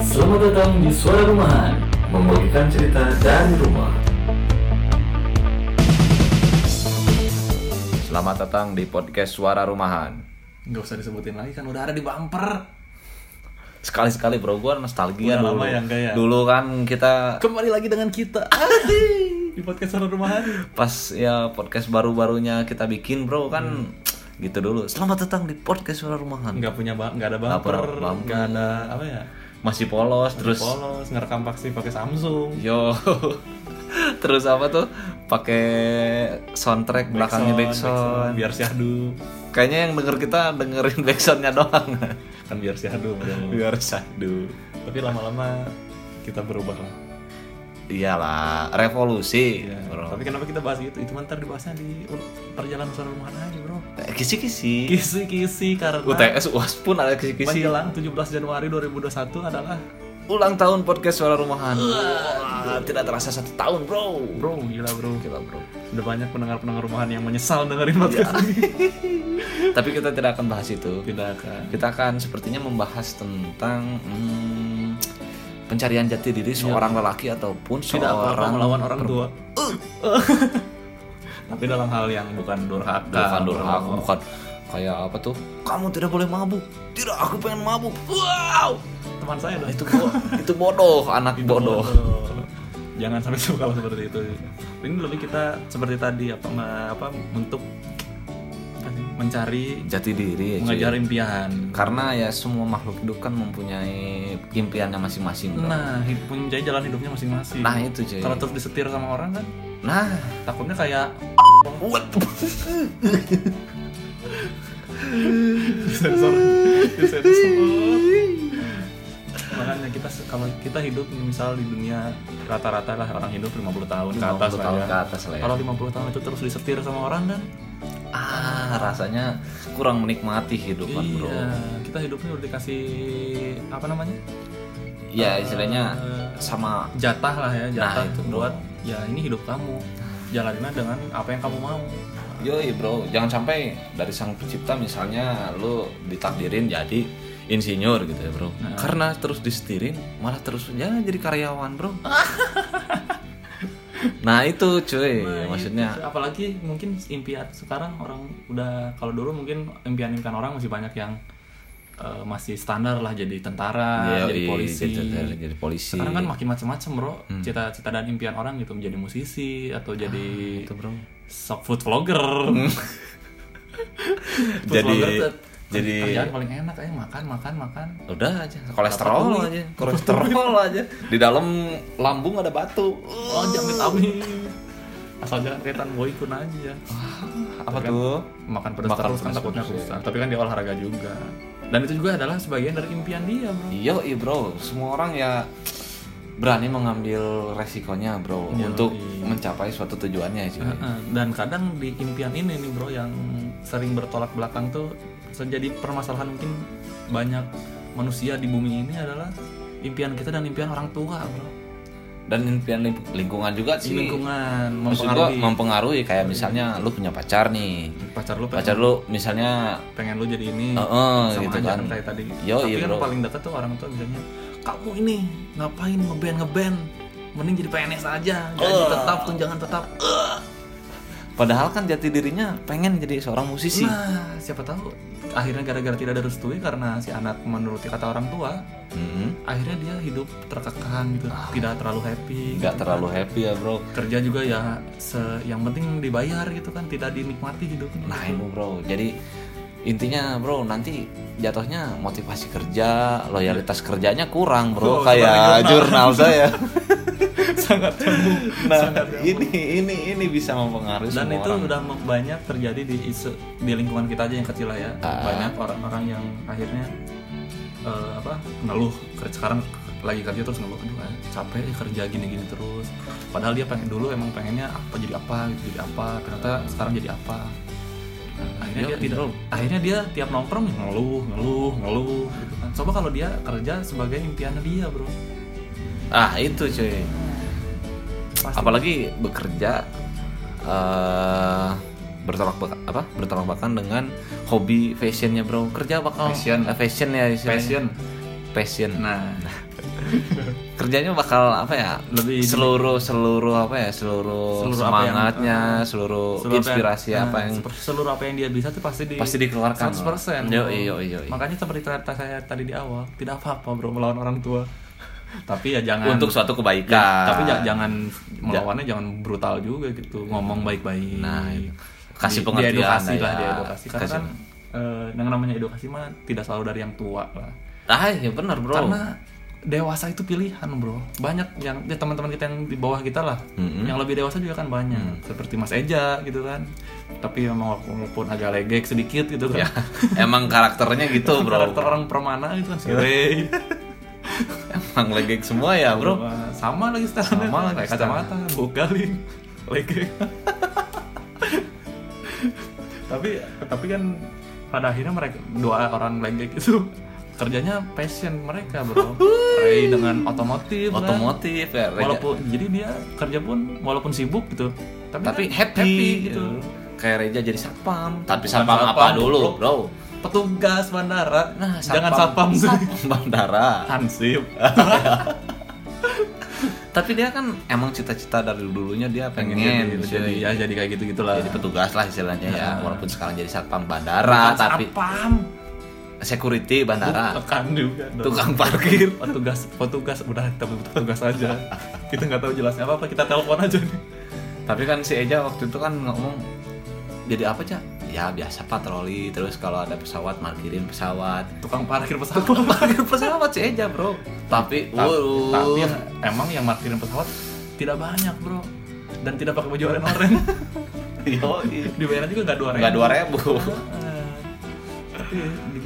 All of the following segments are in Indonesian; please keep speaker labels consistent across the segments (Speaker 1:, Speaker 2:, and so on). Speaker 1: Selamat datang di Suara Rumahan Membagikan cerita dari rumah
Speaker 2: Selamat datang di podcast Suara Rumahan.
Speaker 3: Gak usah disebutin lagi kan udah ada di bumper.
Speaker 2: Sekali-sekali bro gue
Speaker 3: Udah
Speaker 2: nostalgia dulu.
Speaker 3: lama ya, enggak ya?
Speaker 2: Dulu kan kita
Speaker 3: Kembali lagi dengan kita Asik. di podcast orang rumahan.
Speaker 2: pas ya podcast baru-barunya kita bikin bro kan
Speaker 3: Hmm.
Speaker 2: gitu dulu. Selamat datang di podcast Suara Rumahan.
Speaker 3: Nggak punya ba- nggak ada
Speaker 2: Nggak
Speaker 3: bumper,
Speaker 2: ada bumper.
Speaker 3: nggak ada apa ya?
Speaker 2: Masih polos terus
Speaker 3: Polos, ngerekam pasti pakai Samsung.
Speaker 2: yo terus apa tuh pakai soundtrack belakangnya backsound.
Speaker 3: biar syahdu.
Speaker 2: Kayaknya yang denger kita dengerin backsoundnya doang.
Speaker 3: Kan biar syahdu. padahal.
Speaker 2: Biar sadu.
Speaker 3: Tapi lama-lama kita berubah lah.
Speaker 2: Iyalah, revolusi.
Speaker 1: Iya,
Speaker 3: Ya.
Speaker 2: Bro.
Speaker 3: Tapi kenapa kita bahas gitu? itu? Itu mantar dibahasnya di perjalanan suara rumahan aja, Bro.
Speaker 2: Kisi-kisi.
Speaker 3: Kisi-kisi karena
Speaker 2: UTS UAS pun ada kisi-kisi.
Speaker 3: menjelang 17 Januari 2021 adalah
Speaker 2: Ulang tahun podcast suara rumahan. Wah, tidak terasa satu tahun, bro.
Speaker 3: Bro, gila bro.
Speaker 2: Gila, bro.
Speaker 3: Udah banyak pendengar-pendengar rumahan yang menyesal dengerin
Speaker 2: Iya.
Speaker 3: podcast ini.
Speaker 2: Tapi kita tidak akan bahas itu.
Speaker 3: Tidak akan.
Speaker 2: Kita akan sepertinya membahas tentang hmm, pencarian jati diri seorang lelaki ataupun
Speaker 3: Iya. Tidak apa-apa
Speaker 2: seorang
Speaker 3: melawan orang tua. Tapi dalam hal yang bukan durhaka.
Speaker 2: bukan durhaka, bukan kayak apa tuh? Kamu tidak boleh mabuk. Tidak, aku pengen mabuk. Wow.
Speaker 3: Teman saya dong.
Speaker 2: Itu bo- itu bodoh, anak bodoh.
Speaker 3: Jangan sampai suka kalau seperti itu. Ini lebih kita seperti tadi apa me- apa untuk apa sih, mencari
Speaker 2: Jati diri ya, cuy.
Speaker 3: mengejar impian.
Speaker 2: Karena ya semua makhluk hidup kan mempunyai impiannya masing-masing. bro.
Speaker 3: Nah, hidup punya jalan hidupnya masing-masing.
Speaker 2: Nah, itu, cuy.
Speaker 3: Kalau terus disetir sama orang kan
Speaker 2: Nah,
Speaker 3: takutnya kayak
Speaker 2: What?
Speaker 3: sensor disensor semua. makanya kita kalau kita hidup misal di dunia rata-rata lah orang hidup 50 tahun ke atas
Speaker 2: 50
Speaker 3: lah
Speaker 2: tahun
Speaker 3: ya.
Speaker 2: ke atas lah ya.
Speaker 3: kalau 50 tahun itu terus disetir sama orang kan
Speaker 2: Ah, rasanya kurang menikmati kehidupan, Bro.
Speaker 3: iya kita hidupnya udah dikasih apa namanya
Speaker 2: Ya, istilahnya sama
Speaker 3: jatah lah ya jatah
Speaker 2: Nah, itu
Speaker 3: buat ya ini hidup kamu jalaninnya dengan apa yang kamu mau
Speaker 2: Yoi bro, jangan sampai dari sang pencipta misalnya lu ditakdirin jadi insinyur gitu ya bro Karena terus disetirin, malah terus ya jadi karyawan bro Nah itu cuy, maksudnya
Speaker 3: iya, apalagi mungkin impian sekarang orang udah kalau dulu mungkin impian-impian orang masih banyak yang eh, masih standar lah jadi tentara
Speaker 2: Yoi,
Speaker 3: jadi polisi
Speaker 2: Iya, jadi, jadi polisi Nah,
Speaker 3: sekarang
Speaker 2: Hmm.
Speaker 3: kan makin macam-macam bro cita-cita dan impian orang gitu menjadi musisi atau jadi
Speaker 2: Ah, Itu, bro
Speaker 3: sok food vlogger Food
Speaker 2: Jadi-
Speaker 3: vlogger tuh
Speaker 2: jadi-
Speaker 3: kerjaan paling enak aja makan makan makan
Speaker 2: Udah aja, kolesterol aja, kolesterol aja. Di dalam lambung ada batu.
Speaker 3: oh jamin amin asal jangan kelihatan boykun
Speaker 2: Oh,
Speaker 3: aja
Speaker 2: Apa tuh?
Speaker 3: makan pedas
Speaker 2: Makan
Speaker 3: terus kan
Speaker 2: pedas
Speaker 3: takutnya
Speaker 2: terus, iya.
Speaker 3: rusak tapi kan dia olahraga juga dan itu juga adalah sebagian dari impian dia bro
Speaker 2: Iya, iya, bro. Semua orang ya berani mengambil resikonya, bro,
Speaker 3: Iya,
Speaker 2: untuk
Speaker 3: iya.
Speaker 2: mencapai suatu tujuannya, cuy.
Speaker 3: Heeh. dan kadang di impian ini nih bro yang sering bertolak belakang tuh jadi permasalahan mungkin banyak manusia di bumi ini adalah impian kita dan impian orang tua bro
Speaker 2: Dan impian ling- lingkungan juga
Speaker 3: di
Speaker 2: sih.
Speaker 3: lingkungan
Speaker 2: Maksud
Speaker 3: mempengaruhi
Speaker 2: gua
Speaker 3: Iya.
Speaker 2: mempengaruhi kayak misalnya lu punya pacar nih.
Speaker 3: pacar lu pengen,
Speaker 2: Pacar lu misalnya
Speaker 3: pengen lu jadi ini
Speaker 2: Heeh,
Speaker 3: Iya. sama
Speaker 2: gitu
Speaker 3: aja
Speaker 2: kan.
Speaker 3: kan kayak tadi
Speaker 2: Yo,
Speaker 3: tapi
Speaker 2: iya,
Speaker 3: kan
Speaker 2: bro.
Speaker 3: paling dekat tuh orang tua misalnya kamu ini ngapain ngeband ngeband mending jadi PNS aja gaji
Speaker 2: Oh.
Speaker 3: tetap tunjangan tetap
Speaker 2: padahal kan jati dirinya pengen jadi seorang musisi.
Speaker 3: nah siapa tahu akhirnya gara-gara tidak ada restui karena si anak menuruti kata orang tua
Speaker 2: Hmm,
Speaker 3: akhirnya dia hidup terkekang gitu tidak terlalu happy
Speaker 2: Ah. nggak terlalu happy ya, bro.
Speaker 3: kerja juga ya se- yang penting dibayar gitu kan tidak dinikmati hidupnya
Speaker 2: Nah itu bro, jadi intinya bro nanti jatuhnya motivasi kerja, loyalitas kerjanya kurang bro,
Speaker 3: Tuh,
Speaker 2: kayak
Speaker 3: seperti
Speaker 2: jurnal
Speaker 3: jurnal.
Speaker 2: saya.
Speaker 3: sangat temu
Speaker 2: Nah ini ini ini bisa mempengaruhi
Speaker 3: dan
Speaker 2: semua
Speaker 3: itu
Speaker 2: orang.
Speaker 3: udah me- banyak terjadi di isu di lingkungan kita aja yang kecil lah ya
Speaker 2: Ah.
Speaker 3: banyak orang-orang yang akhirnya eh, apa ngeluh kerja sekarang lagi kerja terus ngeluh aduh eh, capek ya kerja gini-gini terus padahal dia pengen dulu emang pengennya apa jadi apa gitu jadi apa ternyata sekarang jadi apa Nah, akhirnya dia tidak akhirnya dia tiap nongkrong ngeluh ngeluh ngeluh gitu kan coba kalau dia kerja sebagai impian dia bro
Speaker 2: Ah itu cuy,
Speaker 3: Pasti.
Speaker 2: apalagi bekerja eh bertolak bak- apa bertolak belakang dengan hobi Eh, fashionnya bro kerja bakal fashion fashion ya istilahnya.
Speaker 3: Passion.
Speaker 2: passion
Speaker 3: nah
Speaker 2: kerjanya bakal apa ya
Speaker 3: Lebih-
Speaker 2: seluruh seluruh apa ya seluruh,
Speaker 3: Seluruh apa yang-
Speaker 2: semangatnya seluruh,
Speaker 3: Seluruh apa yang-
Speaker 2: inspirasi
Speaker 3: nah,
Speaker 2: apa yang
Speaker 3: seper- seluruh apa yang dia bisa tuh pasti di
Speaker 2: Pasti dikeluarkan,
Speaker 3: 100%
Speaker 2: Bro.
Speaker 3: bro.
Speaker 2: Yoi, yoi, yoi.
Speaker 3: makanya seperti cerita saya tadi di awal tidak apa-apa bro melawan orang tua tapi ya jangan
Speaker 2: untuk Ah. suatu kebaikan
Speaker 3: Ya, tapi ja- jangan melawannya jangan brutal juga gitu ngomong baik-baik
Speaker 2: Nah, itu.
Speaker 3: Di-
Speaker 2: Kasih pengertian
Speaker 3: diedukasi
Speaker 2: lah
Speaker 3: lah
Speaker 2: ya.
Speaker 3: diedukasi karena
Speaker 2: Kasih-
Speaker 3: kan eh, yang namanya edukasi mah tidak selalu dari yang tua lah
Speaker 2: ah ya benar bro
Speaker 3: karena dewasa itu pilihan bro banyak yang ya, teman-teman kita yang di bawah kita lah yang lebih dewasa juga kan banyak
Speaker 2: Mm.
Speaker 3: seperti Mas Eja gitu kan tapi memang walaupun agak legek sedikit gitu kan
Speaker 2: ya emang karakternya gitu bro
Speaker 3: karakter orang permana itu kan si Ray
Speaker 2: emang legek semua ya bro
Speaker 3: sama lagi standar
Speaker 2: Sama lagi
Speaker 3: kayak
Speaker 2: standar.
Speaker 3: kacamata bogalin legek tapi tapi kan pada akhirnya mereka dua orang legek itu kerjanya passion mereka bro Ray dengan
Speaker 2: Iya,
Speaker 3: otomotif kan.
Speaker 2: otomotif ya Reja.
Speaker 3: walaupun jadi dia kerja pun walaupun sibuk gitu tapi,
Speaker 2: tapi
Speaker 3: kan
Speaker 2: happy,
Speaker 3: gitu
Speaker 2: kayak Reja jadi satpam tapi
Speaker 3: Bukan
Speaker 2: satpam
Speaker 3: satpam,
Speaker 2: apa dulu
Speaker 3: bro.
Speaker 2: bro
Speaker 3: petugas bandara
Speaker 2: Nah,
Speaker 3: jangan satpam sih
Speaker 2: bandara
Speaker 3: hansip
Speaker 2: tapi dia kan emang cita-cita dari dulunya dia pengen,
Speaker 3: jadi,
Speaker 2: cuy.
Speaker 3: jadi, ya, jadi kayak gitu gitulah
Speaker 2: jadi petugas lah istilahnya ya
Speaker 3: Nah.
Speaker 2: walaupun sekarang jadi satpam bandara tapi
Speaker 3: satpam
Speaker 2: security bandara
Speaker 3: bukan juga dong.
Speaker 2: tukang parkir
Speaker 3: petugas petugas udah kita butuh petugas aja kita nggak tahu jelasnya apa apa kita telepon aja nih
Speaker 2: tapi kan si Eja waktu itu kan ngomong jadi apa cak ya biasa patroli terus kalau ada pesawat markirin pesawat
Speaker 3: tukang parkir pesawat
Speaker 2: parkir pesawat si Eja bro tapi
Speaker 3: Ta-
Speaker 2: wuh,
Speaker 3: tapi yang- emang yang markirin pesawat tidak banyak bro dan tidak pakai baju oranye
Speaker 2: yoi.
Speaker 3: dibayarnya juga nggak dua ribu
Speaker 2: nggak dua ribu
Speaker 3: tapi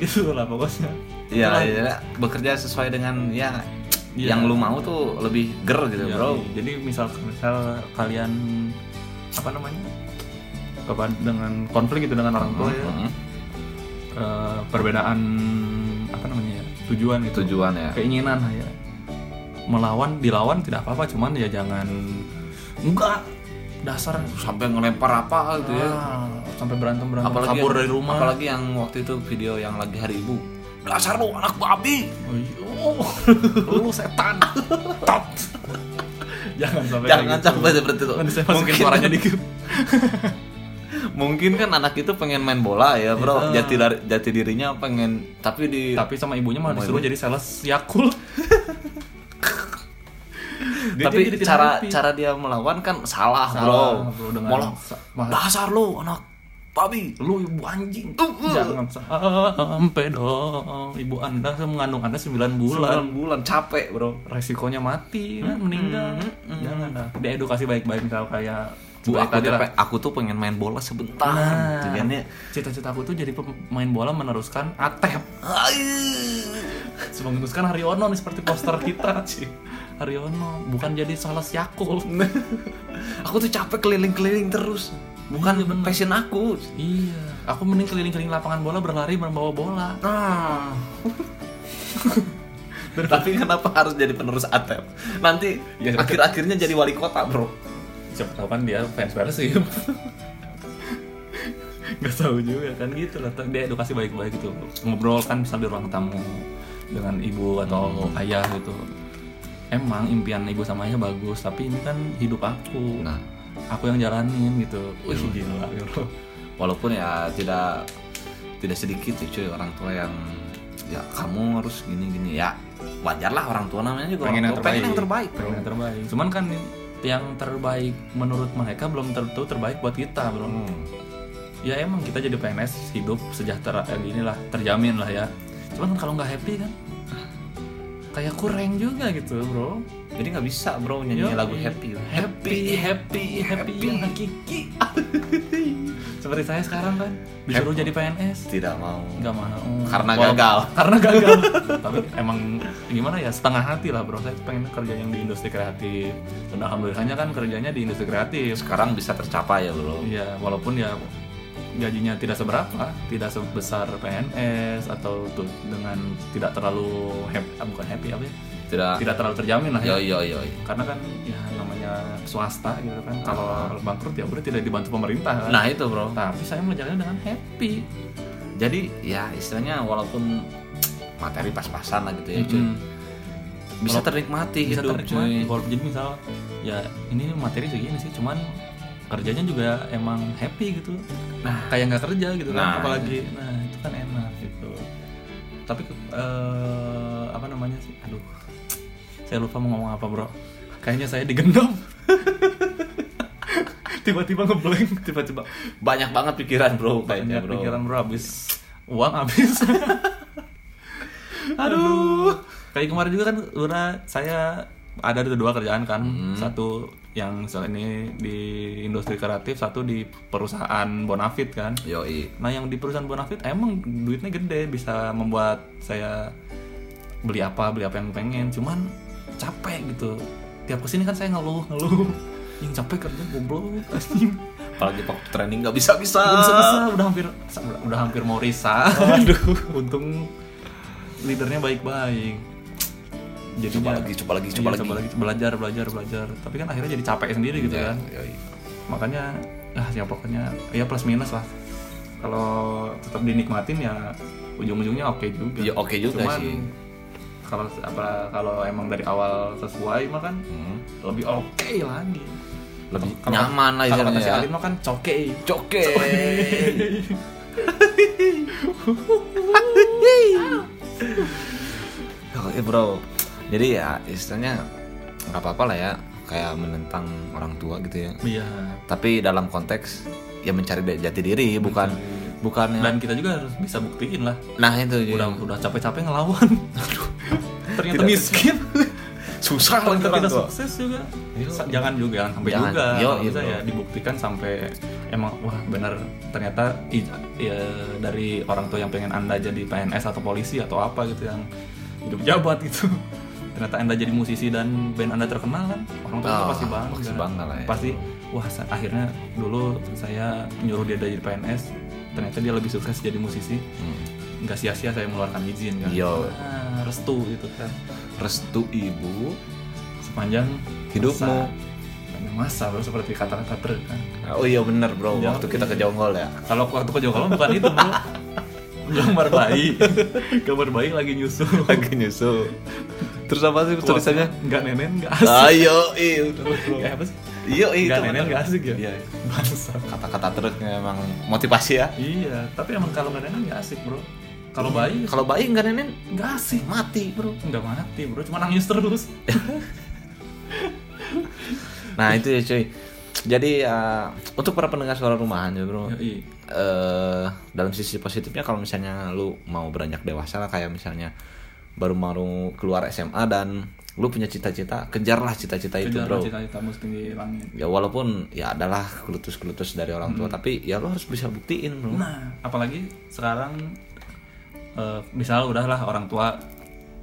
Speaker 3: gitu lah pokoknya
Speaker 2: Iya, iya, iya. bekerja sesuai dengan ya
Speaker 3: Iya.
Speaker 2: yang lu mau tuh lebih ger gitu,
Speaker 3: Iya,
Speaker 2: bro.
Speaker 3: iya. jadi misal misal kalian apa namanya kepa- dengan konflik gitu dengan orang tua ya
Speaker 2: Heeh.
Speaker 3: Eh, perbedaan apa namanya ya, tujuan gitu
Speaker 2: Tujuan ya.
Speaker 3: keinginan lah ya melawan dilawan tidak apa-apa cuman ya jangan enggak dasar
Speaker 2: Sampai ngelempar apa gitu ya.
Speaker 3: ah, sampai berantem berantem
Speaker 2: Apalagi
Speaker 3: kabur
Speaker 2: yang-
Speaker 3: dari rumah
Speaker 2: Apalagi yang waktu itu video yang lagi hari ibu. Dasar lu anak babi.
Speaker 3: Oh, iya. lu setan Tot. jangan sampai
Speaker 2: Jangan
Speaker 3: kayak gitu.
Speaker 2: sampai seperti itu.
Speaker 3: Nanti saya masukin suaranya dikit
Speaker 2: mungkin kan anak itu pengen main bola ya, bro. Jati dari- jati dirinya pengen tapi di
Speaker 3: tapi sama ibunya malah disuruh jadi sales Yakult Dia-
Speaker 2: tapi
Speaker 3: dia jadi tidak
Speaker 2: cara
Speaker 3: happy.
Speaker 2: cara dia melawan kan salah,
Speaker 3: Salah,
Speaker 2: bro.
Speaker 3: bro, dengan
Speaker 2: Malah,
Speaker 3: sa- malah-
Speaker 2: dasar lu anak babi.
Speaker 3: lu ibu anjing
Speaker 2: Uh,
Speaker 3: jangan Ah, sampai dong ibu anda mengandung anda 9 bulan
Speaker 2: Bulan bulan Hmm, capek, bro.
Speaker 3: resikonya mati kan meninggal jangan dah dia edukasi baik-baik misal kayak
Speaker 2: Bu,
Speaker 3: seperti
Speaker 2: aku,
Speaker 3: tadi
Speaker 2: tuh
Speaker 3: lah.
Speaker 2: pe- aku tuh pengen main bola sebentar.
Speaker 3: Nah,
Speaker 2: Gitu kan ya.
Speaker 3: cita-cita aku tuh jadi pemain bola meneruskan atep
Speaker 2: Ai.
Speaker 3: meneruskan Haryono nih seperti poster kita sih Haryono bukan jadi sales Yakult
Speaker 2: Aku tuh capek keliling-keliling terus. Bukan passion aku.
Speaker 3: iya aku mending keliling-keliling lapangan bola berlari membawa bola
Speaker 2: Ah. Tapi kenapa harus jadi penerus atep? Nanti
Speaker 3: Ya,
Speaker 2: akhir-akhirnya jadi wali kota, bro.
Speaker 3: siapa tahu kan dia fans Persib nggak tahu juga kan gitu lah dia edukasi baik-baik gitu ngobrol kan misal di ruang tamu dengan ibu atau ayah gitu emang impian ibu sama ayah bagus tapi ini kan hidup aku
Speaker 2: Nah.
Speaker 3: aku yang jalanin gitu wih gila ya bro
Speaker 2: Walaupun ya tidak tidak sedikit ya cuy orang tua yang ya kamu harus gini-gini ya wajar lah orang tua namanya juga orang tua pengen yang terbaik bro.
Speaker 3: pengen yang terbaik cuman kan yang terbaik menurut mereka belum tentu terbaik buat kita bro
Speaker 2: Hmm.
Speaker 3: ya emang kita jadi PNS hidup sejahtera eh, gini lah terjamin lah ya cuman kan kalau nggak happy kan kayak kurang juga gitu bro
Speaker 2: jadi nggak bisa bro nyanyi
Speaker 3: Yoi.
Speaker 2: lagu happy
Speaker 3: happy happy happy, yang hakiki seperti saya sekarang kan disuruh jadi PNS
Speaker 2: tidak mau
Speaker 3: nggak mau
Speaker 2: Karena
Speaker 3: Walau-
Speaker 2: gagal.
Speaker 3: karena gagal tapi emang gimana ya setengah hati lah bro saya pengen kerja yang di industri kreatif dan alhamdulillahnya kan kerjanya di industri kreatif
Speaker 2: sekarang bisa tercapai ya bro
Speaker 3: Iya, walaupun ya gajinya tidak seberapa, tidak sebesar PNS atau tuh dengan tidak terlalu happy, ah, bukan happy apa ya?
Speaker 2: tidak
Speaker 3: Tidak terlalu terjamin lah ya.
Speaker 2: yo yo yo
Speaker 3: Karena kan ya namanya swasta gitu kan. Kalau bangkrut ya udah tidak dibantu pemerintah. kan.
Speaker 2: nah itu bro
Speaker 3: tapi saya menjalannya dengan happy.
Speaker 2: jadi ya istilahnya walaupun materi pas-pasan lah gitu ya cuy
Speaker 3: Hmm.
Speaker 2: bisa ternikmati
Speaker 3: bisa
Speaker 2: hidup
Speaker 3: ternikmati
Speaker 2: cuy.
Speaker 3: Kalau- jadi misal ya ini materi segini sih cuman kerjanya juga emang happy gitu nah kayak nggak kerja gitu kan
Speaker 2: Nah,
Speaker 3: apalagi nah itu kan enak gitu tapi ke- eh, apa namanya sih aduh saya lupa mau ngomong apa bro kayaknya saya digendong tiba-tiba ngeblank tiba-tiba
Speaker 2: banyak banget pikiran bro kayaknya
Speaker 3: banyak
Speaker 2: bro
Speaker 3: pikiran bro habis uang habis aduh kayak kemarin juga kan Luna saya ada dua- dua kerjaan kan satu yang soal ini di industri kreatif satu di perusahaan Bonafit kan
Speaker 2: yoi
Speaker 3: nah yang di perusahaan Bonafit emang duitnya gede bisa membuat saya beli apa beli apa yang pengen cuman capek gitu tiap kesini kan saya ngeluh ngeluh yang capek kerja goblok anjing."
Speaker 2: apalagi waktu training nggak bisa bisa
Speaker 3: Udah bisa-bisa, udah hampir udah, udah hampir mau resign.
Speaker 2: Oh, iya.
Speaker 3: Untung leadernya baik-baik. Jadi
Speaker 2: Coba lagi, coba lagi, coba lagi. Iya.
Speaker 3: coba lagi belajar, belajar, belajar. Tapi kan akhirnya jadi capek sendiri gitu kan.
Speaker 2: yoi.
Speaker 3: Makanya ah ya pokoknya ya plus minus lah. Kalau tetap dinikmatin ya ujung-ujungnya oke juga.
Speaker 2: Ya, oke juga
Speaker 3: Cuman,
Speaker 2: sih.
Speaker 3: Kalau apa kalau emang dari awal sesuai mah kan
Speaker 2: Hmm.
Speaker 3: lebih oke lagi.
Speaker 2: lebih
Speaker 3: Kalau-
Speaker 2: nyaman lah
Speaker 3: Kalau kata
Speaker 2: istilahnya
Speaker 3: si
Speaker 2: ya.
Speaker 3: Alin mah kan coke.
Speaker 2: Coke. Oke Oh, iya, bro, jadi ya istilahnya nggak apa-apa lah ya kayak menentang orang tua gitu ya.
Speaker 3: Iya.
Speaker 2: Tapi dalam konteks ya mencari da- jati diri bukan bukannya.
Speaker 3: dan kita juga harus bisa buktiin lah
Speaker 2: nah itu jadi.
Speaker 3: udah udah capek-capek ngelawan Aduh, ternyata
Speaker 2: Tidak-
Speaker 3: miskin
Speaker 2: susah lah
Speaker 3: ternyata
Speaker 2: orang
Speaker 3: kita
Speaker 2: tua.
Speaker 3: sukses juga Sa- jangan juga jangan sampai
Speaker 2: Jangan.
Speaker 3: juga
Speaker 2: Yo,
Speaker 3: Kalau
Speaker 2: iya,
Speaker 3: bisa
Speaker 2: bro.
Speaker 3: ya dibuktikan sampai emang wah benar ternyata i- ya, dari orang tua yang pengen anda jadi PNS atau polisi atau apa gitu yang hidup jabat gitu ternyata anda jadi musisi dan band anda terkenal kan orang tua
Speaker 2: Oh,
Speaker 3: pasti bangga
Speaker 2: pasti bangga lah ya.
Speaker 3: Pasti, wah sa- akhirnya dulu saya nyuruh dia jadi PNS ternyata dia lebih sukses jadi musisi
Speaker 2: Hmm.
Speaker 3: nggak sia-sia saya mengeluarkan izin kan
Speaker 2: Yo.
Speaker 3: Ah, restu gitu kan
Speaker 2: Restu ibu.
Speaker 3: sepanjang
Speaker 2: Hidupmu.
Speaker 3: masa. sepanjang masa bro seperti kata-kata ter kan
Speaker 2: Oh iya bener
Speaker 3: Jangan.
Speaker 2: bro,
Speaker 3: gitu.
Speaker 2: waktu kita ke Jonggol ya.
Speaker 3: kalau waktu ke Jokowi bukan itu bro gambar bayi gambar bayi lagi nyusul ya.
Speaker 2: Lagi nyusul. Terus apa sih tulisannya?
Speaker 3: nggak nenen nggak asik
Speaker 2: Ayo, iya udah, bro.
Speaker 3: Nggak apa sih ya. nggak
Speaker 2: Iya, iya, itu
Speaker 3: nenen
Speaker 2: bener.
Speaker 3: nggak asik ya
Speaker 2: Iya.
Speaker 3: bangsa
Speaker 2: Kata-kata terusnya emang motivasi ya.
Speaker 3: iya tapi emang kalau nggak nenen nggak asik bro kalau bayi
Speaker 2: Kalau bayi nggak nenen
Speaker 3: nggak asik
Speaker 2: mati, bro.
Speaker 3: nggak mati bro cuma nangis terus
Speaker 2: Nah itu ya cuy. Jadi eh, untuk para pendengar suara rumahan ya bro.
Speaker 3: Yoi.
Speaker 2: eh dalam sisi positifnya kalau misalnya lu mau beranjak dewasa lah kayak misalnya baru mau keluar SMA dan lu punya cita-cita kejarlah cita-cita itu
Speaker 3: kejar
Speaker 2: bro
Speaker 3: cita-citamu setinggi langit
Speaker 2: ya walaupun ya adalah kelutus-kelutus dari orang tua tapi ya lu harus bisa buktiin bro
Speaker 3: Nah, apalagi sekarang eh, misal udahlah orang tua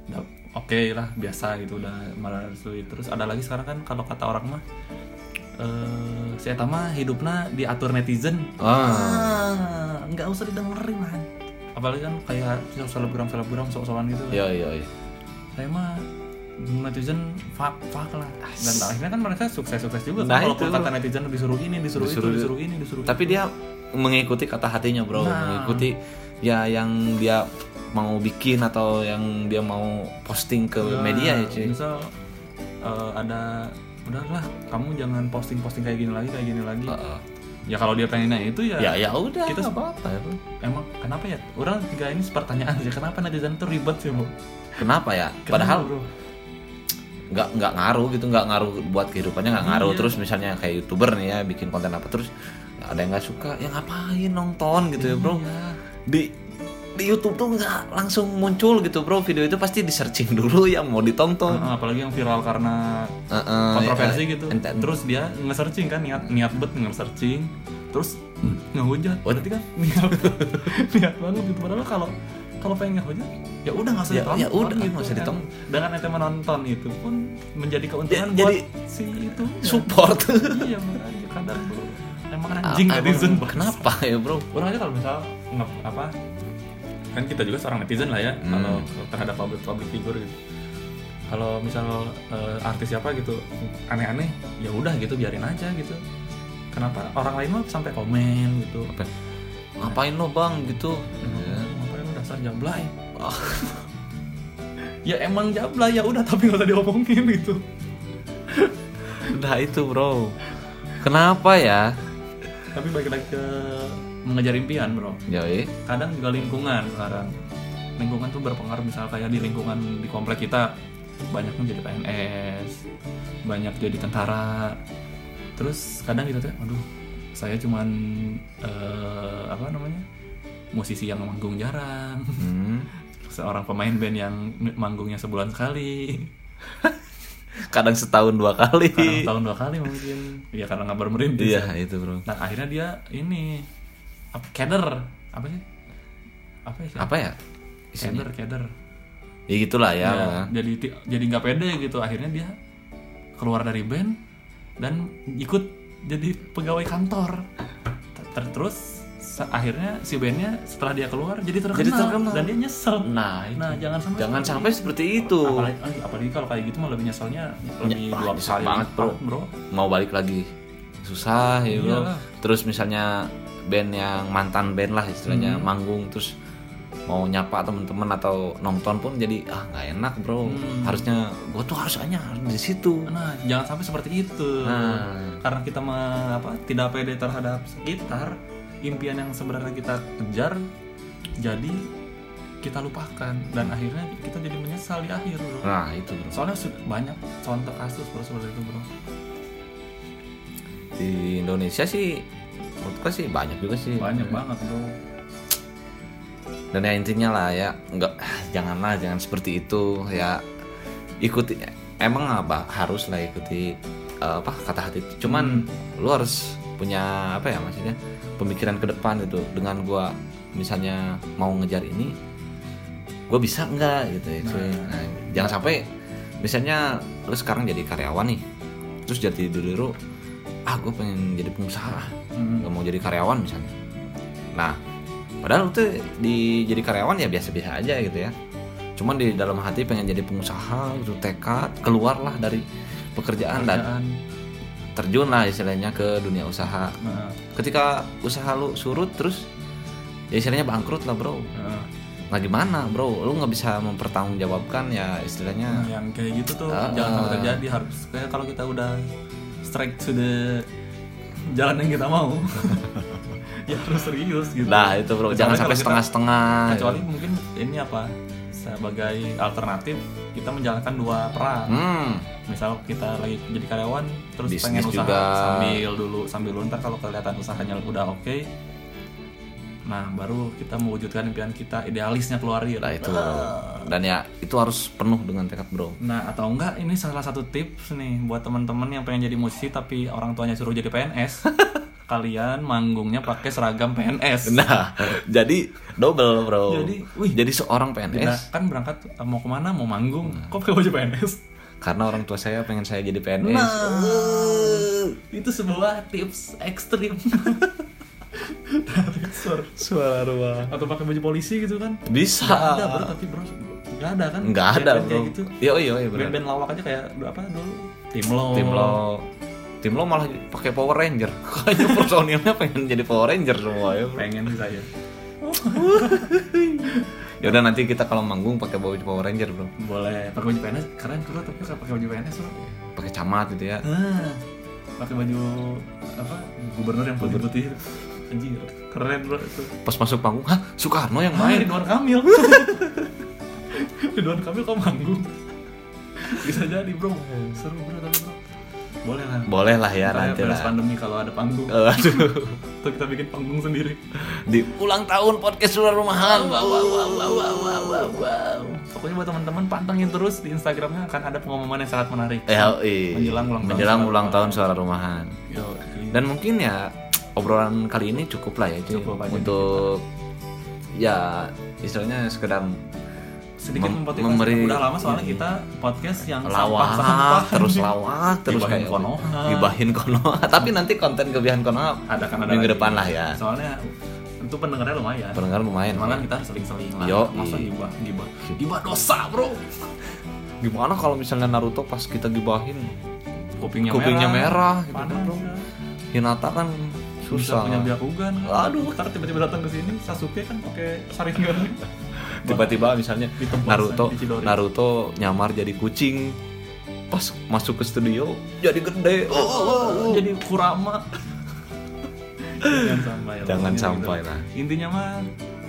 Speaker 3: udah oke lah biasa gitu udah merestui terus ada lagi sekarang kan kalau kata orang mah eh si Eta mah hidupnya diatur netizen
Speaker 2: ah
Speaker 3: Ah, nggak usah didengerin man. apalagi kan kayak misal selebgram selebgram sok-sokan gitu kan.
Speaker 2: iya iya iya.
Speaker 3: saya mah netizen fuck fuck lah dan akhirnya kan mereka sukses sukses juga
Speaker 2: Nah,
Speaker 3: kan walaupun
Speaker 2: itu.
Speaker 3: kata netizen disuruh ini disuruh,
Speaker 2: Disuruh-
Speaker 3: itu disuruh ini disuruh
Speaker 2: tapi dia mengikuti kata hatinya bro
Speaker 3: Nah.
Speaker 2: mengikuti ya yang dia mau bikin atau yang dia mau posting ke
Speaker 3: Nah,
Speaker 2: media ya cuy
Speaker 3: Misal eh, ada udahlah kamu jangan posting-posting kayak gini lagi kayak gini lagi.
Speaker 2: Heeh.
Speaker 3: Ya kalau dia pengennya itu ya,
Speaker 2: Ah. ya ya udah
Speaker 3: Kita
Speaker 2: nggak
Speaker 3: se-
Speaker 2: apa-apa ya, bro.
Speaker 3: emang kenapa ya? Orang tiga ini pertanyaan sih kenapa netizen tuh ribet sih, Bu?
Speaker 2: kenapa ya
Speaker 3: Kenapa,
Speaker 2: padahal
Speaker 3: Bro?
Speaker 2: nggak nggak ngaruh gitu nggak ngaruh buat kehidupannya nggak ngaruh
Speaker 3: Iya.
Speaker 2: terus misalnya kayak youtuber nih ya bikin konten apa terus ada yang nggak suka ya ngapain nonton gitu ya bro
Speaker 3: Iya.
Speaker 2: di di YouTube tuh nggak langsung muncul gitu bro video itu pasti di searching dulu yang mau ditonton
Speaker 3: Heeh, apalagi yang viral karena
Speaker 2: Heeh,
Speaker 3: kontroversi
Speaker 2: ya,
Speaker 3: gitu.
Speaker 2: ente-
Speaker 3: Terus dia nge-searching kan niat niat bet nge-searching. Terus ngehujat. Berarti kan niat niat banget gitu. Padahal kalau kalau pengen ngehujat ya udah nggak usah
Speaker 2: Ya-
Speaker 3: ditonton.
Speaker 2: ya udah,
Speaker 3: gitu
Speaker 2: nggak usah
Speaker 3: kan.
Speaker 2: ditonton.
Speaker 3: Dengan ente menonton itu pun menjadi keuntungan
Speaker 2: Ya, jadi-
Speaker 3: buat si itu.
Speaker 2: support
Speaker 3: iya makanya kadang tuh emang anjing netizen
Speaker 2: Ah, Emang kenapa ya bro
Speaker 3: orang aja kalau misal nge apa kan kita juga seorang netizen lah ya kalau terhadap public public figure gitu kalau misal eh, artis siapa gitu aneh-aneh ya udah gitu biarin aja gitu kenapa orang lain mah sampai komen gitu "Oh,
Speaker 2: ngapain lo bang gitu
Speaker 3: ngapain lu dasar jamblay ya emang jabla ya udah tapi nggak usah diomongin gitu
Speaker 2: udah itu bro kenapa ya
Speaker 3: tapi balik lagi ke mengejar impian bro
Speaker 2: Yoi.
Speaker 3: kadang juga lingkungan sekarang lingkungan tuh berpengaruh misal kayak di lingkungan di komplek kita banyak yang jadi PNS banyak jadi tentara terus kadang gitu tuh aduh saya cuman eh, apa namanya musisi yang manggung jarang
Speaker 2: Hmm.
Speaker 3: seorang pemain band yang manggungnya sebulan sekali
Speaker 2: kadang setahun dua
Speaker 3: kadang
Speaker 2: kali
Speaker 3: tahun dua kali mungkin ya karena nggak bermerintih
Speaker 2: iya itu bro
Speaker 3: nah akhirnya dia ini ap- keder apa sih apa sih
Speaker 2: apa ya
Speaker 3: keder keder
Speaker 2: ya gitulah ya
Speaker 3: Ya, jadi ti- jadi nggak pede gitu akhirnya dia keluar dari band dan ikut jadi pegawai kantor Ter- ter- terus se- akhirnya si bandnya setelah dia keluar jadi terkenal,
Speaker 2: Jadi terkenal.
Speaker 3: dan dia nyesel
Speaker 2: nah itu.
Speaker 3: nah jangan sampai
Speaker 2: jangan
Speaker 3: seperti
Speaker 2: sampai seperti itu
Speaker 3: itu. apalagi, eh, apalagi kalau kayak gitu mah lebih nyeselnya lebih
Speaker 2: Wah,
Speaker 3: dua
Speaker 2: nyesel
Speaker 3: kali
Speaker 2: banget,
Speaker 3: lipat,
Speaker 2: bro. mau balik lagi susah ya bro
Speaker 3: Iyalah.
Speaker 2: terus misalnya band yang mantan band lah istilahnya
Speaker 3: Hmm.
Speaker 2: manggung terus mau nyapa temen-temen atau nonton pun jadi ah nggak enak bro
Speaker 3: Hmm.
Speaker 2: harusnya gue tuh harusnya harus di situ
Speaker 3: nah jangan sampai seperti itu
Speaker 2: Nah.
Speaker 3: karena kita mah apa tidak pede terhadap sekitar impian yang sebenarnya kita kejar jadi kita lupakan dan akhirnya kita jadi menyesal di akhir bro
Speaker 2: nah itu bro
Speaker 3: soalnya sudah banyak contoh kasus bro seperti itu bro
Speaker 2: di Indonesia sih menurut gue sih banyak juga sih
Speaker 3: banyak ya. banget bro
Speaker 2: dan ya intinya lah ya nggak ah, janganlah jangan seperti itu ya ikuti emang apa harus lah ikuti eh, apa kata hati itu. cuman lu harus punya apa ya maksudnya pemikiran ke depan gitu dengan gua misalnya mau ngejar ini gua bisa nggak gitu ya cuy. Nah, jangan sampai misalnya lu sekarang jadi karyawan nih terus jadi dulu ah gue pengen jadi pengusaha nggak mau jadi karyawan misalnya nah padahal lu tuh di jadi karyawan ya biasa-biasa aja gitu ya cuman di dalam hati pengen jadi pengusaha gitu tekad keluarlah dari pekerjaan dan
Speaker 3: Dan,
Speaker 2: terjun lah istilahnya ke dunia usaha
Speaker 3: nah,
Speaker 2: ketika usaha lu surut terus ya istilahnya bangkrut lah bro
Speaker 3: nah,
Speaker 2: nah gimana bro lu nggak bisa mempertanggungjawabkan ya istilahnya
Speaker 3: yang kayak gitu tuh
Speaker 2: Ah.
Speaker 3: jangan sampai terjadi harus kayak kalau kita udah strike to the jalan yang kita mau ya harus serius gitu
Speaker 2: nah itu bro
Speaker 3: Kecuali
Speaker 2: jangan sampai
Speaker 3: kalau kita-
Speaker 2: setengah-setengah
Speaker 3: kecuali
Speaker 2: iya.
Speaker 3: mungkin ini apa sebagai alternatif kita menjalankan dua peran
Speaker 2: hmm
Speaker 3: misal kita lagi jadi karyawan terus
Speaker 2: Bisnis
Speaker 3: pengen usaha
Speaker 2: juga.
Speaker 3: sambil dulu sambil dulu ntar kalau kelihatan usahanya udah oke nah baru kita mewujudkan impian kita idealisnya keluarin
Speaker 2: lah Nah, itu
Speaker 3: Ah.
Speaker 2: dan ya itu harus penuh dengan tekad bro
Speaker 3: Nah, atau enggak ini salah satu tips nih buat teman-teman yang pengen jadi musisi tapi orang tuanya suruh jadi PNS. Kalian manggungnya pakai seragam PNS.
Speaker 2: Nah, jadi double bro.
Speaker 3: Jadi,
Speaker 2: Jadi,
Speaker 3: wih.
Speaker 2: jadi seorang
Speaker 3: Nah,
Speaker 2: PNS
Speaker 3: kan berangkat eh, mau kemana mau manggung,
Speaker 2: Nah.
Speaker 3: kok pakai baju PNS?
Speaker 2: karena orang tua saya pengen saya jadi PNS.
Speaker 3: Nah. Itu sebuah tips ekstrim. Dari sur-
Speaker 2: Suara ruang.
Speaker 3: atau pakai baju polisi gitu kan?
Speaker 2: Bisa.
Speaker 3: Nggak ada bro, tapi bro nggak ada kan?
Speaker 2: Nggak ada
Speaker 3: Band-band
Speaker 2: bro.
Speaker 3: Kayak gitu.
Speaker 2: Iya iya iya benar.
Speaker 3: Band-band Oh. lawak aja kayak apa dulu? Tim lo.
Speaker 2: Tim lo, tim lo malah pakai Power Ranger. Kayaknya personilnya pengen jadi Power Ranger semua ya. bro.
Speaker 3: Pengen sih saya.
Speaker 2: Ya udah nanti kita kalau manggung pakai baju Power Ranger bro,
Speaker 3: boleh pakai baju PNS keren bro tapi kalau pakai baju PNS bro
Speaker 2: pakai camat gitu ya.
Speaker 3: ah pakai baju apa gubernur yang putih putih anjir keren bro itu
Speaker 2: Pas masuk panggung, hah Soekarno yang
Speaker 3: main
Speaker 2: main.
Speaker 3: Ridwan Kamil Ridwan Kamil kok manggung bisa jadi bro seru bro tapi bro boleh lah
Speaker 2: Boleh lah
Speaker 3: Ntar
Speaker 2: ya nanti
Speaker 3: beres
Speaker 2: lah.
Speaker 3: pandemi kalau ada panggung
Speaker 2: Eh, Aduh,
Speaker 3: tuh kita bikin panggung sendiri
Speaker 2: di ulang tahun podcast suara rumahan.
Speaker 3: wow wow wow wow wow wow wow, wow. pokoknya buat teman-teman pantengin terus di Instagramnya akan ada pengumuman yang sangat menarik
Speaker 2: Ya. LI
Speaker 3: Menjelang ulang tahun
Speaker 2: Eh, Menjelang
Speaker 3: suara
Speaker 2: ulang tahun
Speaker 3: rumahan.
Speaker 2: suara rumahan.
Speaker 3: Yoi.
Speaker 2: Dan mungkin ya obrolan kali ini cukup lah ya cuy.
Speaker 3: Cukup aja
Speaker 2: untuk ya istilahnya sekedar
Speaker 3: sedikit
Speaker 2: Mem-
Speaker 3: memmotivasi
Speaker 2: memberi-
Speaker 3: udah lama soalnya kita podcast yang
Speaker 2: lawak terus lawak terus
Speaker 3: Gibahin
Speaker 2: kayak
Speaker 3: Konoha.
Speaker 2: gibahin konoha tapi nanti konten kebihan konoha
Speaker 3: ada kan ada
Speaker 2: minggu
Speaker 3: lagi.
Speaker 2: depan lah ya
Speaker 3: soalnya itu pendengarnya lumayan
Speaker 2: pendengar lumayan
Speaker 3: Cuman kan kita harus seling-seling lah
Speaker 2: Yo,
Speaker 3: masa
Speaker 2: iya.
Speaker 3: gibah gibah gibah dosa bro
Speaker 2: gimana kalau misalnya Naruto pas kita gibahin
Speaker 3: kupingnya,
Speaker 2: Kupingnya merah, gitu
Speaker 3: panas
Speaker 2: kan, bro.
Speaker 3: ya.
Speaker 2: Hinata kan
Speaker 3: Bisa
Speaker 2: susah
Speaker 3: punya Byakugan
Speaker 2: Aduh.
Speaker 3: ntar tiba-tiba datang ke sini Sasuke kan pakai Sharingan
Speaker 2: tiba-tiba misalnya
Speaker 3: Ditebas,
Speaker 2: Naruto
Speaker 3: dicidori.
Speaker 2: Naruto nyamar jadi kucing pas masuk ke studio jadi gede oh, oh, oh, oh.
Speaker 3: jadi kurama jangan sampai lah.
Speaker 2: Jangan
Speaker 3: Intinya
Speaker 2: sampai
Speaker 3: gitu.
Speaker 2: lah.
Speaker 3: intinya mah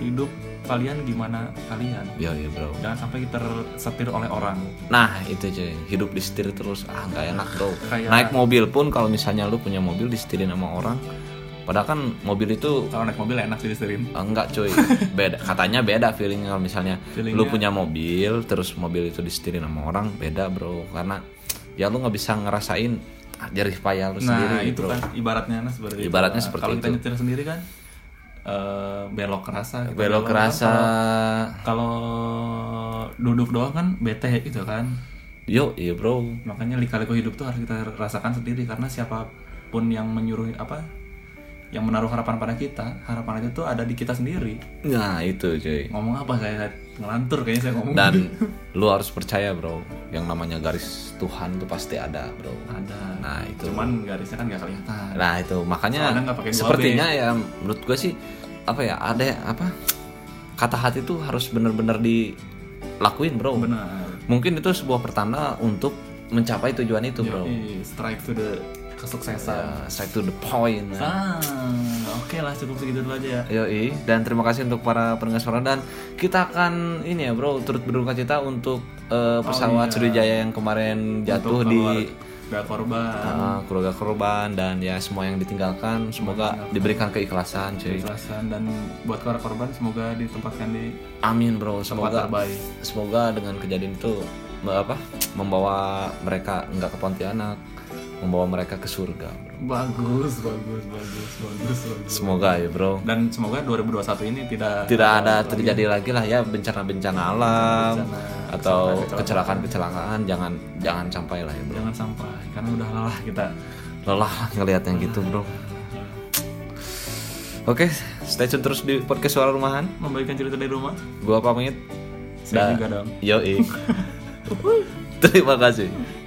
Speaker 3: hidup kalian gimana kalian
Speaker 2: ya ya bro
Speaker 3: jangan sampai kita tersetir oleh orang
Speaker 2: nah itu cuy hidup di setir terus ah nggak enak bro
Speaker 3: Kayak-
Speaker 2: naik mobil pun kalau misalnya lu punya mobil di setirin sama orang padahal kan mobil itu
Speaker 3: kalau naik mobil enak sih disetirin
Speaker 2: Enggak cuy, beda. Katanya beda feelingnya kalau misalnya
Speaker 3: Feelingnya-
Speaker 2: lu punya mobil, terus mobil itu disetirin sama orang, beda bro. Karena ya lu nggak bisa ngerasain ah, jerih payah lu
Speaker 3: nah
Speaker 2: sendiri
Speaker 3: itu
Speaker 2: bro.
Speaker 3: kan ibaratnya nah seperti itu.
Speaker 2: Ibaratnya
Speaker 3: Nah,
Speaker 2: seperti
Speaker 3: kalau kita
Speaker 2: itu.
Speaker 3: nyetir sendiri kan eh, belok kerasa gitu.
Speaker 2: Belok
Speaker 3: kan
Speaker 2: kerasa.
Speaker 3: kalau- kalau duduk doang kan bete gitu kan
Speaker 2: Yo, iya bro.
Speaker 3: makanya lika-liku hidup tuh harus kita rasakan sendiri karena siapapun yang menyuruh apa yang menaruh harapan pada kita harapan itu tuh ada di kita sendiri
Speaker 2: Nah itu cuy.
Speaker 3: ngomong apa saya saya ngelantur kayaknya saya ngomong
Speaker 2: Dan lu harus percaya bro, yang namanya garis Tuhan tuh pasti ada bro.
Speaker 3: ada
Speaker 2: Nah itu.
Speaker 3: cuman garisnya kan nggak kelihatan
Speaker 2: Nah itu makanya
Speaker 3: Soalnya nggak pakai dua
Speaker 2: sepertinya ya menurut gue sih apa ya ada apa kata hati tuh harus bener-bener dilakuin bro.
Speaker 3: benar
Speaker 2: Mungkin itu sebuah pertanda untuk mencapai tujuan itu,
Speaker 3: Iya.
Speaker 2: bro.
Speaker 3: Jadi, strike to the kesuksesan
Speaker 2: Uh, straight to the point.
Speaker 3: ah oke lah cukup segitu dulu aja ya
Speaker 2: Yoi, dan terima kasih untuk para pendengar suara dan kita akan ini ya, bro, turut berduka cita untuk uh, pesawat Sriwijaya yang kemarin jatuh di
Speaker 3: gak korban
Speaker 2: uh, keluarga korban dan ya semua yang ditinggalkan semoga diberikan keikhlasan, cuy.
Speaker 3: kejelasan dan buat para korban semoga ditempatkan di
Speaker 2: Amin, bro.
Speaker 3: tempat
Speaker 2: Semoga
Speaker 3: terbaik
Speaker 2: semoga dengan kejadian itu me- apa membawa mereka enggak ke Pontianak, membawa mereka ke surga, bro.
Speaker 3: bagus bagus bagus bagus bagus
Speaker 2: Semoga ya, bro.
Speaker 3: dan semoga 2021 ini tidak
Speaker 2: tidak ada terjadi lagi lah ya bencana-bencana alam
Speaker 3: Bencana,
Speaker 2: atau kecelakaan-kecelakaan jangan jangan sampai lah ya bro
Speaker 3: jangan sampai karena udah lelah kita
Speaker 2: lelah lah ngelihat yang gitu bro oke stay tune terus di podcast suara rumahan
Speaker 3: membagikan cerita dari rumah
Speaker 2: gua pamit
Speaker 3: saya
Speaker 2: Da-
Speaker 3: juga dong
Speaker 2: yoi terima kasih